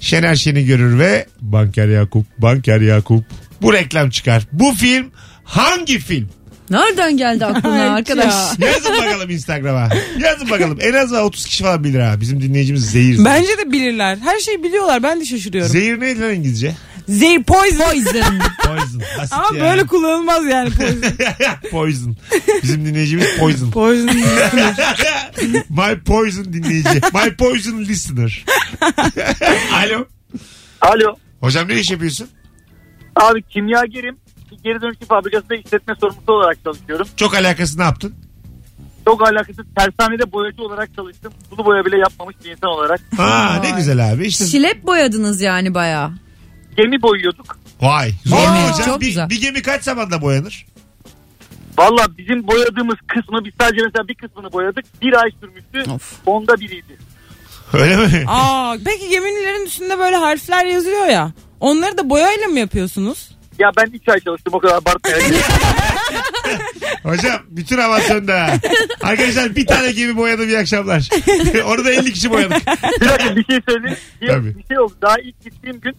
Speaker 2: Şener Şen'i görür ve Banker Yakup, Banker Yakup. Bu reklam çıkar. Bu film hangi film?
Speaker 3: Nereden geldi
Speaker 4: Ay
Speaker 3: aklına
Speaker 4: ya.
Speaker 2: <laughs>
Speaker 3: arkadaş?
Speaker 2: Yazın bakalım Instagram'a. Yazın bakalım. En az 30 kişi falan bilir ha. Bizim dinleyicimiz zehir.
Speaker 4: Bence de bilirler. Her şeyi biliyorlar. Ben de şaşırıyorum.
Speaker 2: Zehir neydi lan İngilizce?
Speaker 4: Zehir poison.
Speaker 2: Poison. Basit
Speaker 4: Ama
Speaker 2: ya. <laughs>
Speaker 4: böyle kullanılmaz yani poison.
Speaker 2: poison. Bizim dinleyicimiz
Speaker 4: <laughs>
Speaker 2: poison.
Speaker 4: poison.
Speaker 2: My poison dinleyici. My poison listener. <laughs> Alo.
Speaker 9: Alo.
Speaker 2: Hocam ne iş yapıyorsun?
Speaker 9: Abi kimyagerim. Bir Geri dönüşüm fabrikasında işletme sorumlusu olarak çalışıyorum.
Speaker 2: Çok alakası ne yaptın?
Speaker 9: Çok alakasız tersanede boyacı olarak çalıştım. Sulu boya bile yapmamış bir insan olarak.
Speaker 2: Ha ne güzel abi. İşte
Speaker 3: Şilep boyadınız yani bayağı.
Speaker 9: Gemi boyuyorduk.
Speaker 2: vay. Zor
Speaker 3: Gemi,
Speaker 2: mu hocam?
Speaker 3: çok
Speaker 2: bir,
Speaker 3: güzel.
Speaker 2: bir gemi kaç zamanda boyanır?
Speaker 9: Valla bizim boyadığımız kısmı biz sadece mesela bir kısmını boyadık. Bir ay sürmüştü. Onda biriydi.
Speaker 2: Öyle mi?
Speaker 4: Aa, peki gemilerin üstünde böyle harfler yazıyor ya. Onları da boyayla mı yapıyorsunuz?
Speaker 9: Ya ben iki ay çalıştım o kadar abartmaya gerek yok.
Speaker 2: Hocam bütün avasyonda. Arkadaşlar bir tane gemi boyadım iyi akşamlar. <laughs> Orada 50 kişi boyadık.
Speaker 9: Bir dakika bir şey söyleyeyim. Bir,
Speaker 2: Tabii.
Speaker 9: bir şey oldu. Daha ilk gittiğim gün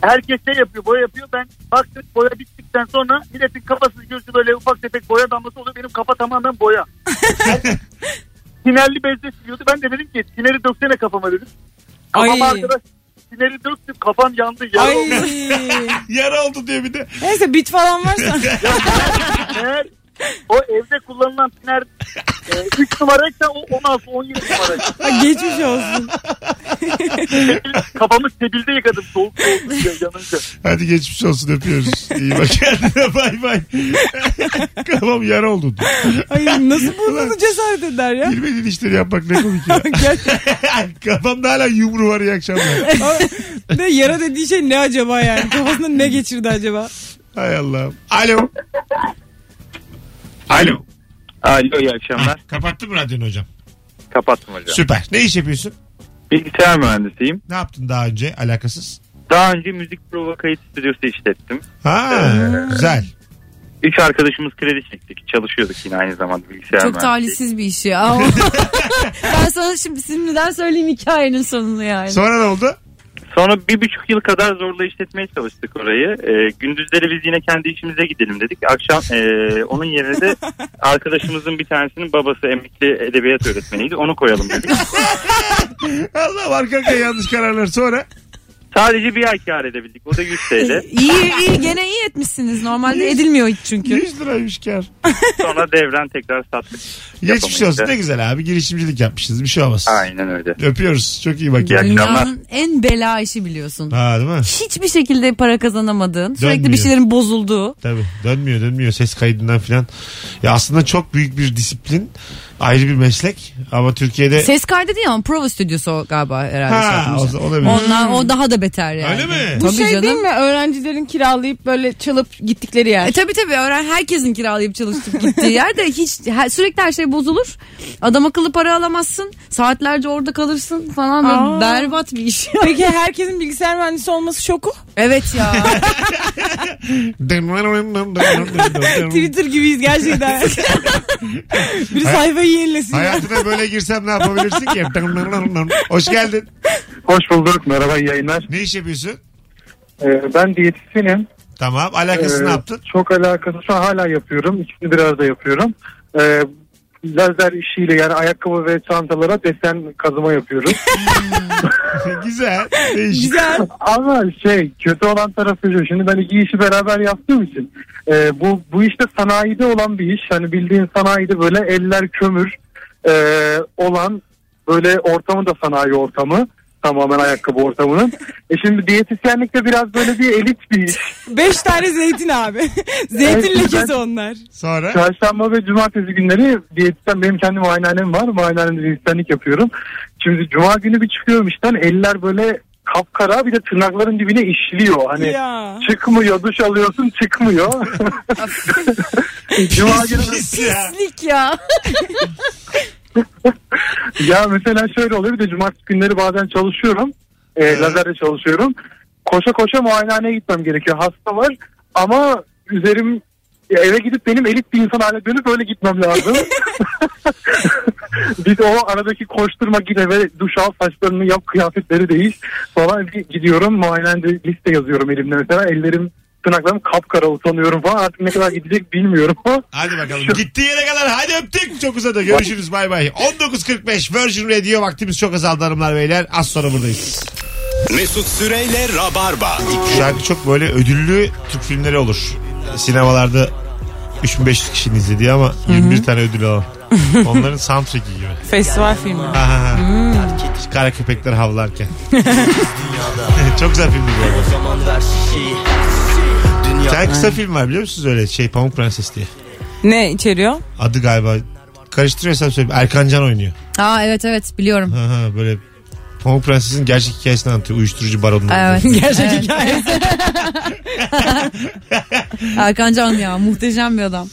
Speaker 9: herkes şey yapıyor boya yapıyor. Ben baktım boya bittikten sonra milletin kafası gözü böyle ufak tefek boya damlası oluyor. Benim kafa tamamen boya. Ben Sinerli bezle siliyordu. Ben de dedim ki sineri döksene kafama dedim.
Speaker 4: Ay.
Speaker 9: Kafam arkadaş sineri döktüm kafam yandı. Ya
Speaker 4: Ay.
Speaker 2: Yara oldu diyor bir de.
Speaker 4: Neyse bit falan <laughs> varsa.
Speaker 9: Eğer o evde kullanılan siner 3 numaraysa o 16 17 numara.
Speaker 4: <laughs> Ha, Geçmiş olsun.
Speaker 9: Kafamı sebilde yıkadım soğuk soğuk diye yanınca.
Speaker 2: Hadi geçmiş olsun öpüyoruz. İyi bak <laughs> kendine bay bay. <laughs> Kafam yara oldu.
Speaker 4: Ay nasıl bunu cesaret eder <laughs> ya?
Speaker 2: Bilmediğin işleri yapmak ne
Speaker 4: <laughs>
Speaker 2: komik ya. <laughs> Kafamda hala yumru var iyi akşamlar.
Speaker 4: Ay, ne yara dediği şey ne acaba yani? Kafasında ne geçirdi acaba?
Speaker 2: Hay Allah'ım. Alo. Alo.
Speaker 1: Alo iyi
Speaker 9: <laughs>
Speaker 1: akşamlar.
Speaker 2: Kapattın mı radyonu hocam?
Speaker 1: Kapattım hocam.
Speaker 2: Süper. Ne iş yapıyorsun?
Speaker 1: Bilgisayar mühendisiyim.
Speaker 2: Ne yaptın daha önce alakasız?
Speaker 1: Daha önce müzik prova kayıt stüdyosu işlettim.
Speaker 2: Ha güzel.
Speaker 1: Üç arkadaşımız kredi çektik. Çalışıyorduk yine aynı zamanda bilgisayar
Speaker 3: Çok talihsiz bir iş ya. Ama- ben sana şimdi şimdiden söyleyeyim hikayenin sonunu yani.
Speaker 2: Sonra ne oldu?
Speaker 1: Sonra bir buçuk yıl kadar zorla işletmeye çalıştık orayı. Ee, gündüzleri biz yine kendi işimize gidelim dedik. Akşam ee, onun
Speaker 3: <laughs>
Speaker 1: yerine de arkadaşımızın bir tanesinin babası emekli edebiyat öğretmeniydi. Onu koyalım
Speaker 3: <laughs>
Speaker 1: dedik.
Speaker 2: Allah arka arkaya yanlış kararlar sonra.
Speaker 1: Sadece bir ay kar edebildik. O da 100 TL.
Speaker 3: iyi iyi gene iyi etmişsiniz. Normalde edilmiyor hiç çünkü.
Speaker 2: 100 liraymış kar.
Speaker 1: Sonra devren tekrar sattık.
Speaker 2: Geçmiş olsun ne güzel abi girişimcilik yapmışız bir şey olmaz.
Speaker 1: Aynen öyle.
Speaker 2: Öpüyoruz çok iyi bak.
Speaker 1: İyi
Speaker 2: ya.
Speaker 1: akşamlar.
Speaker 3: Dünyanın en bela işi biliyorsun.
Speaker 2: Ha değil mi?
Speaker 3: Hiçbir şekilde para kazanamadığın, sürekli bir
Speaker 2: Dönmüyor.
Speaker 3: şeylerin bozulduğu.
Speaker 2: Tabii dönmüyor dönmüyor ses kaydından filan. Ya aslında çok büyük bir disiplin ayrı bir meslek ama Türkiye'de
Speaker 3: Ses kaydı değil ama prova stüdyosu o galiba herhalde. şey
Speaker 2: ha,
Speaker 3: yapmış.
Speaker 2: o, olabilir.
Speaker 3: Ondan o daha da beter yani.
Speaker 2: Öyle mi?
Speaker 3: Bu
Speaker 4: Bu şey
Speaker 3: şey canım.
Speaker 4: değil mi? Öğrencilerin kiralayıp böyle çalıp gittikleri yer.
Speaker 3: E tabii tabii öğren herkesin kiralayıp çalışıp gittiği yerde hiç her- sürekli her şey bozulur. Adam akıllı para alamazsın. Saatlerce orada kalırsın falan. Böyle
Speaker 4: Aa.
Speaker 3: Berbat bir iş.
Speaker 4: Peki herkesin bilgisayar mühendisi olması şoku.
Speaker 3: <laughs> evet ya.
Speaker 4: Twitter gibiyiz gerçekten. Biri sayfayı <laughs> yenilesin.
Speaker 2: Hayatına böyle girsem ne yapabilirsin ki? Hoş geldin.
Speaker 8: Hoş bulduk. Merhaba iyi yayınlar.
Speaker 2: Ne iş yapıyorsun?
Speaker 8: Ee, ben diyetisyenim.
Speaker 2: Tamam. Alakası
Speaker 8: Ee,
Speaker 2: ne yaptın? <laughs>
Speaker 8: Çok alakası şu an hala yapıyorum. İkisini biraz da yapıyorum. Ee, lazer işiyle yani ayakkabı ve çantalara desen kazıma
Speaker 1: <laughs>
Speaker 8: yapıyorum.
Speaker 2: Güzel. Değişik.
Speaker 4: Güzel.
Speaker 8: Ama şey kötü olan tarafı şu. Şimdi ben iki işi beraber yaptığım için e, bu bu işte sanayide olan bir iş. Hani bildiğin sanayide böyle eller kömür e, olan böyle ortamı da sanayi ortamı. Tamamen ayakkabı ortamının. E şimdi diyetisyenlik de biraz böyle bir elit bir iş.
Speaker 4: Beş tane zeytin abi. zeytin
Speaker 8: Evet,
Speaker 4: lekesi
Speaker 8: ben-
Speaker 4: onlar.
Speaker 2: Sonra?
Speaker 8: Çarşamba ve cumartesi günleri diyetisyen benim kendi muayenehanem var. Muayenehanemde diyetisyenlik yapıyorum. Şimdi cuma günü bir çıkıyorum işten eller böyle kapkara bir de tırnakların dibine işliyor. Hani
Speaker 4: Ya.
Speaker 8: çıkmıyor duş alıyorsun çıkmıyor. cuma günü
Speaker 2: Pis ya.
Speaker 3: Pislik ya.
Speaker 8: ya mesela şöyle oluyor bir de cumartesi günleri bazen çalışıyorum. E, lazerle çalışıyorum. Koşa koşa muayenehaneye gitmem gerekiyor. Hasta var ama üzerim ya eve gidip benim elit bir insan haline dönüp öyle gitmem lazım. bir de o aradaki koşturma git eve duş al saçlarını yap kıyafetleri değiş falan bir gidiyorum muayenehanede liste yazıyorum elimde mesela ellerim tırnaklarım kapkara utanıyorum falan artık ne kadar gidecek bilmiyorum.
Speaker 2: Hadi bakalım. Gittiği yere kadar hadi öptük. Çok uzadı. Görüşürüz. Bay bay. 19.45 Virgin Radio. Vaktimiz çok azaldı hanımlar beyler. Az sonra buradayız.
Speaker 10: Mesut Süreyle Rabarba.
Speaker 2: Şarkı çok böyle ödüllü Türk filmleri olur. Sinemalarda 3500 kişinin izlediği ama 21 tane ödül alan. Onların soundtrack'i gibi.
Speaker 4: Festival filmi.
Speaker 2: Aha. Kara köpekler havlarken. <laughs> Çok güzel filmdi bu arada. Bir tane kısa film var biliyor musunuz öyle şey Pamuk Prenses diye.
Speaker 4: Ne içeriyor? <laughs>
Speaker 2: Adı galiba karıştırıyorsam söyle. Erkan Can oynuyor.
Speaker 3: Aa evet evet biliyorum.
Speaker 2: Aha, böyle Pamuk Prenses'in gerçek hikayesini anlatıyor. Uyuşturucu baronunun. <laughs>
Speaker 3: Evet.
Speaker 4: Gerçek
Speaker 3: Evet.
Speaker 4: hikaye.
Speaker 3: Erkan Can ya muhteşem bir adam.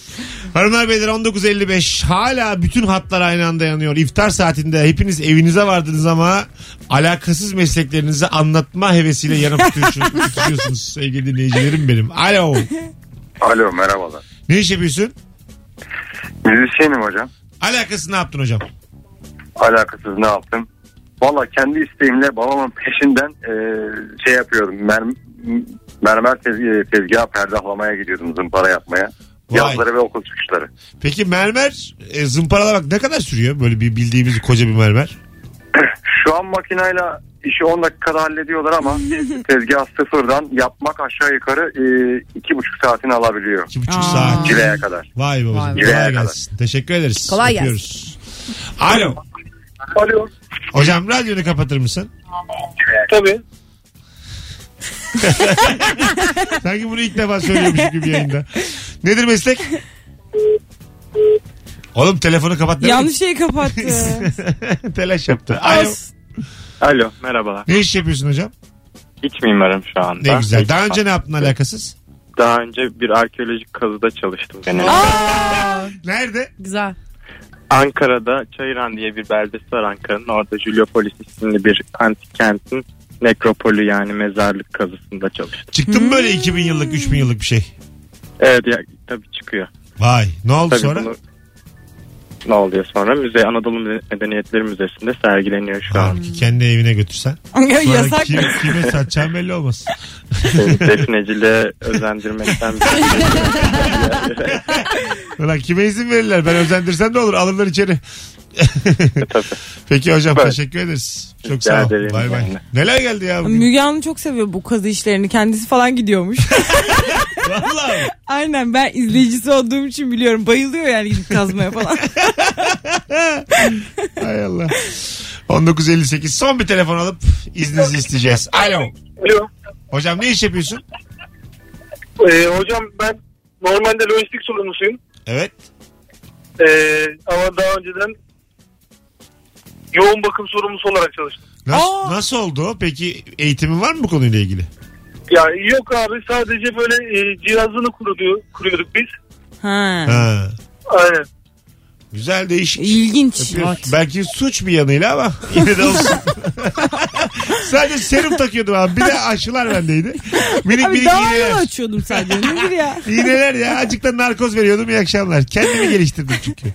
Speaker 2: Hanımlar beyler 19.55 hala bütün hatlar aynı anda yanıyor. İftar saatinde hepiniz evinize vardınız ama alakasız mesleklerinizi anlatma hevesiyle yanıp tutuyorsunuz, tutuyorsunuz sevgili dinleyicilerim benim. Alo.
Speaker 8: Alo merhabalar.
Speaker 2: Ne iş yapıyorsun?
Speaker 8: Müzisyenim hocam.
Speaker 2: Alakası ne yaptın hocam?
Speaker 8: alakasız ne yaptım? Valla kendi isteğimle babamın peşinden e, şey yapıyordum. Merm, mermer tezgahı, tezgaha perdahlamaya gidiyordum zımpara yapmaya.
Speaker 2: Vay.
Speaker 8: Yazları ve okul çıkışları.
Speaker 2: Peki mermer e, zımparalamak ne kadar sürüyor? Böyle bir bildiğimiz koca bir mermer.
Speaker 8: Şu an makinayla işi 10 dakikada hallediyorlar
Speaker 2: <laughs>
Speaker 8: ama tezgah sıfırdan yapmak aşağı yukarı e, iki buçuk saatini alabiliyor.
Speaker 2: İki buçuk
Speaker 4: Aa.
Speaker 2: saat.
Speaker 8: Cileye kadar.
Speaker 2: Vay babacığım.
Speaker 3: Vay be.
Speaker 2: Kolay gelsin. Teşekkür ederiz.
Speaker 3: Kolay gelsin.
Speaker 2: Öpüyoruz. Alo.
Speaker 9: Alo.
Speaker 2: Hocam radyonu kapatır mısın?
Speaker 9: Tabii.
Speaker 2: Sanki bunu ilk defa söylüyormuşum gibi yayında. Nedir meslek? Oğlum telefonu kapat. demedim.
Speaker 4: Yanlış şeyi kapattı.
Speaker 2: <laughs> Telaş yaptı. Alo.
Speaker 8: Alo merhabalar.
Speaker 2: Ne iş yapıyorsun hocam?
Speaker 8: İç mimarım şu anda.
Speaker 2: Ne güzel. Daha önce ne yaptın alakasız?
Speaker 8: Daha önce bir arkeolojik kazıda çalıştım. Benim.
Speaker 3: Aa,
Speaker 2: Nerede?
Speaker 3: güzel.
Speaker 8: Ankara'da Çayıran diye bir beldesi var Ankara'nın. Orada Juliopolis isimli bir antik kentin nekropolü yani mezarlık kazısında çalıştım.
Speaker 2: Çıktın mı böyle 2000 yıllık 3000 yıllık bir şey?
Speaker 8: Evet ya, tabii çıkıyor.
Speaker 2: Vay. Ne oldu
Speaker 8: Tabii
Speaker 2: sonra?
Speaker 8: bunu- ne oluyor sonra? Müze Anadolu Müze- Medeniyetleri Müzesi'nde sergileniyor şu an.
Speaker 2: Halbuki kendi evine götürsen. Sonra
Speaker 4: <laughs> Yasak.
Speaker 2: Kim, <laughs> kime satacağın belli olmaz.
Speaker 8: Beni Defneciliğe <laughs> özendirmekten
Speaker 2: Ulan kime izin verirler? Ben özendirsem de olur. Alırlar içeri.
Speaker 8: E, Tabii.
Speaker 2: <laughs> Peki hocam
Speaker 8: Evet.
Speaker 2: teşekkür ederiz. Çok
Speaker 8: Rica
Speaker 2: sağ ol.
Speaker 8: ederim
Speaker 2: Bay bay.
Speaker 8: yani.
Speaker 2: Neler geldi ya
Speaker 4: <laughs>
Speaker 2: bugün?
Speaker 4: Müge Anlı çok seviyor bu kazı işlerini. Kendisi falan gidiyormuş.
Speaker 2: Vallahi.
Speaker 4: Aynen ben izleyicisi olduğum için biliyorum. Bayılıyor yani gidip kazmaya falan.
Speaker 2: Hay Allah. 1958 son bir telefon alıp izninizi isteyeceğiz. Alo.
Speaker 9: Alo.
Speaker 2: Hocam ne iş yapıyorsun?
Speaker 9: Ee, hocam ben normalde lojistik sorumlusuyum.
Speaker 2: Evet.
Speaker 9: Ee, ama daha önceden yoğun bakım sorumlusu olarak çalıştım.
Speaker 2: Nasıl,
Speaker 4: Aa!
Speaker 2: nasıl oldu o? Peki eğitimin var mı bu konuyla ilgili?
Speaker 7: Ya yok abi sadece böyle e, cihazını kuruyor, kuruyorduk biz.
Speaker 4: Ha.
Speaker 2: Ha.
Speaker 7: Aynen.
Speaker 2: Güzel değişik.
Speaker 4: İlginç.
Speaker 2: Yapıyorsun. Belki suç bir yanıyla ama <laughs> yine
Speaker 4: <laughs>
Speaker 2: de olsun. Sadece serum takıyordum abi. Bir de aşılar bendeydi. Minik
Speaker 4: Abi
Speaker 2: minik
Speaker 4: daha yol
Speaker 2: iğneler.
Speaker 4: açıyordum sadece. Nedir ya?
Speaker 2: İğneler ya. Azıcık da narkoz veriyordum. İyi akşamlar. Kendimi geliştirdim çünkü.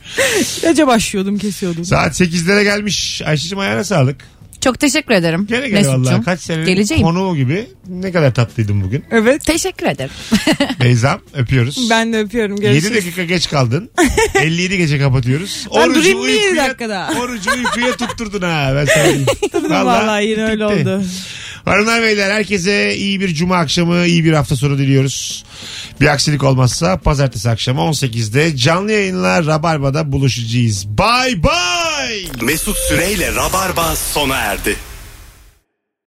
Speaker 4: İlaca başlıyordum kesiyordum.
Speaker 2: Saat 8'lere gelmiş. Ayşe'cim ayağına sağlık.
Speaker 3: Çok teşekkür ederim.
Speaker 2: Gene gel valla. Kaç senenin
Speaker 3: Geleceğim.
Speaker 2: konuğu gibi. Ne kadar tatlıydım bugün.
Speaker 4: Evet.
Speaker 3: Teşekkür ederim.
Speaker 2: Beyza'm öpüyoruz.
Speaker 4: Ben de öpüyorum.
Speaker 2: 7
Speaker 4: Görüşürüz.
Speaker 2: dakika geç kaldın. 57 gece kapatıyoruz.
Speaker 4: Ben durayım bir dakika daha.
Speaker 2: Orucu uykuya tutturdun ha. Ben
Speaker 4: <laughs>
Speaker 2: sana diyeyim.
Speaker 4: Vallahi, yine öyle
Speaker 2: bitti.
Speaker 4: oldu.
Speaker 2: Hanımlar beyler herkese iyi bir cuma akşamı, iyi bir hafta sonu diliyoruz. Bir aksilik olmazsa pazartesi akşamı 18'de canlı yayınla Rabarba'da buluşacağız. Bay bay.
Speaker 10: Mesut Süreyle Rabarba sona erdi.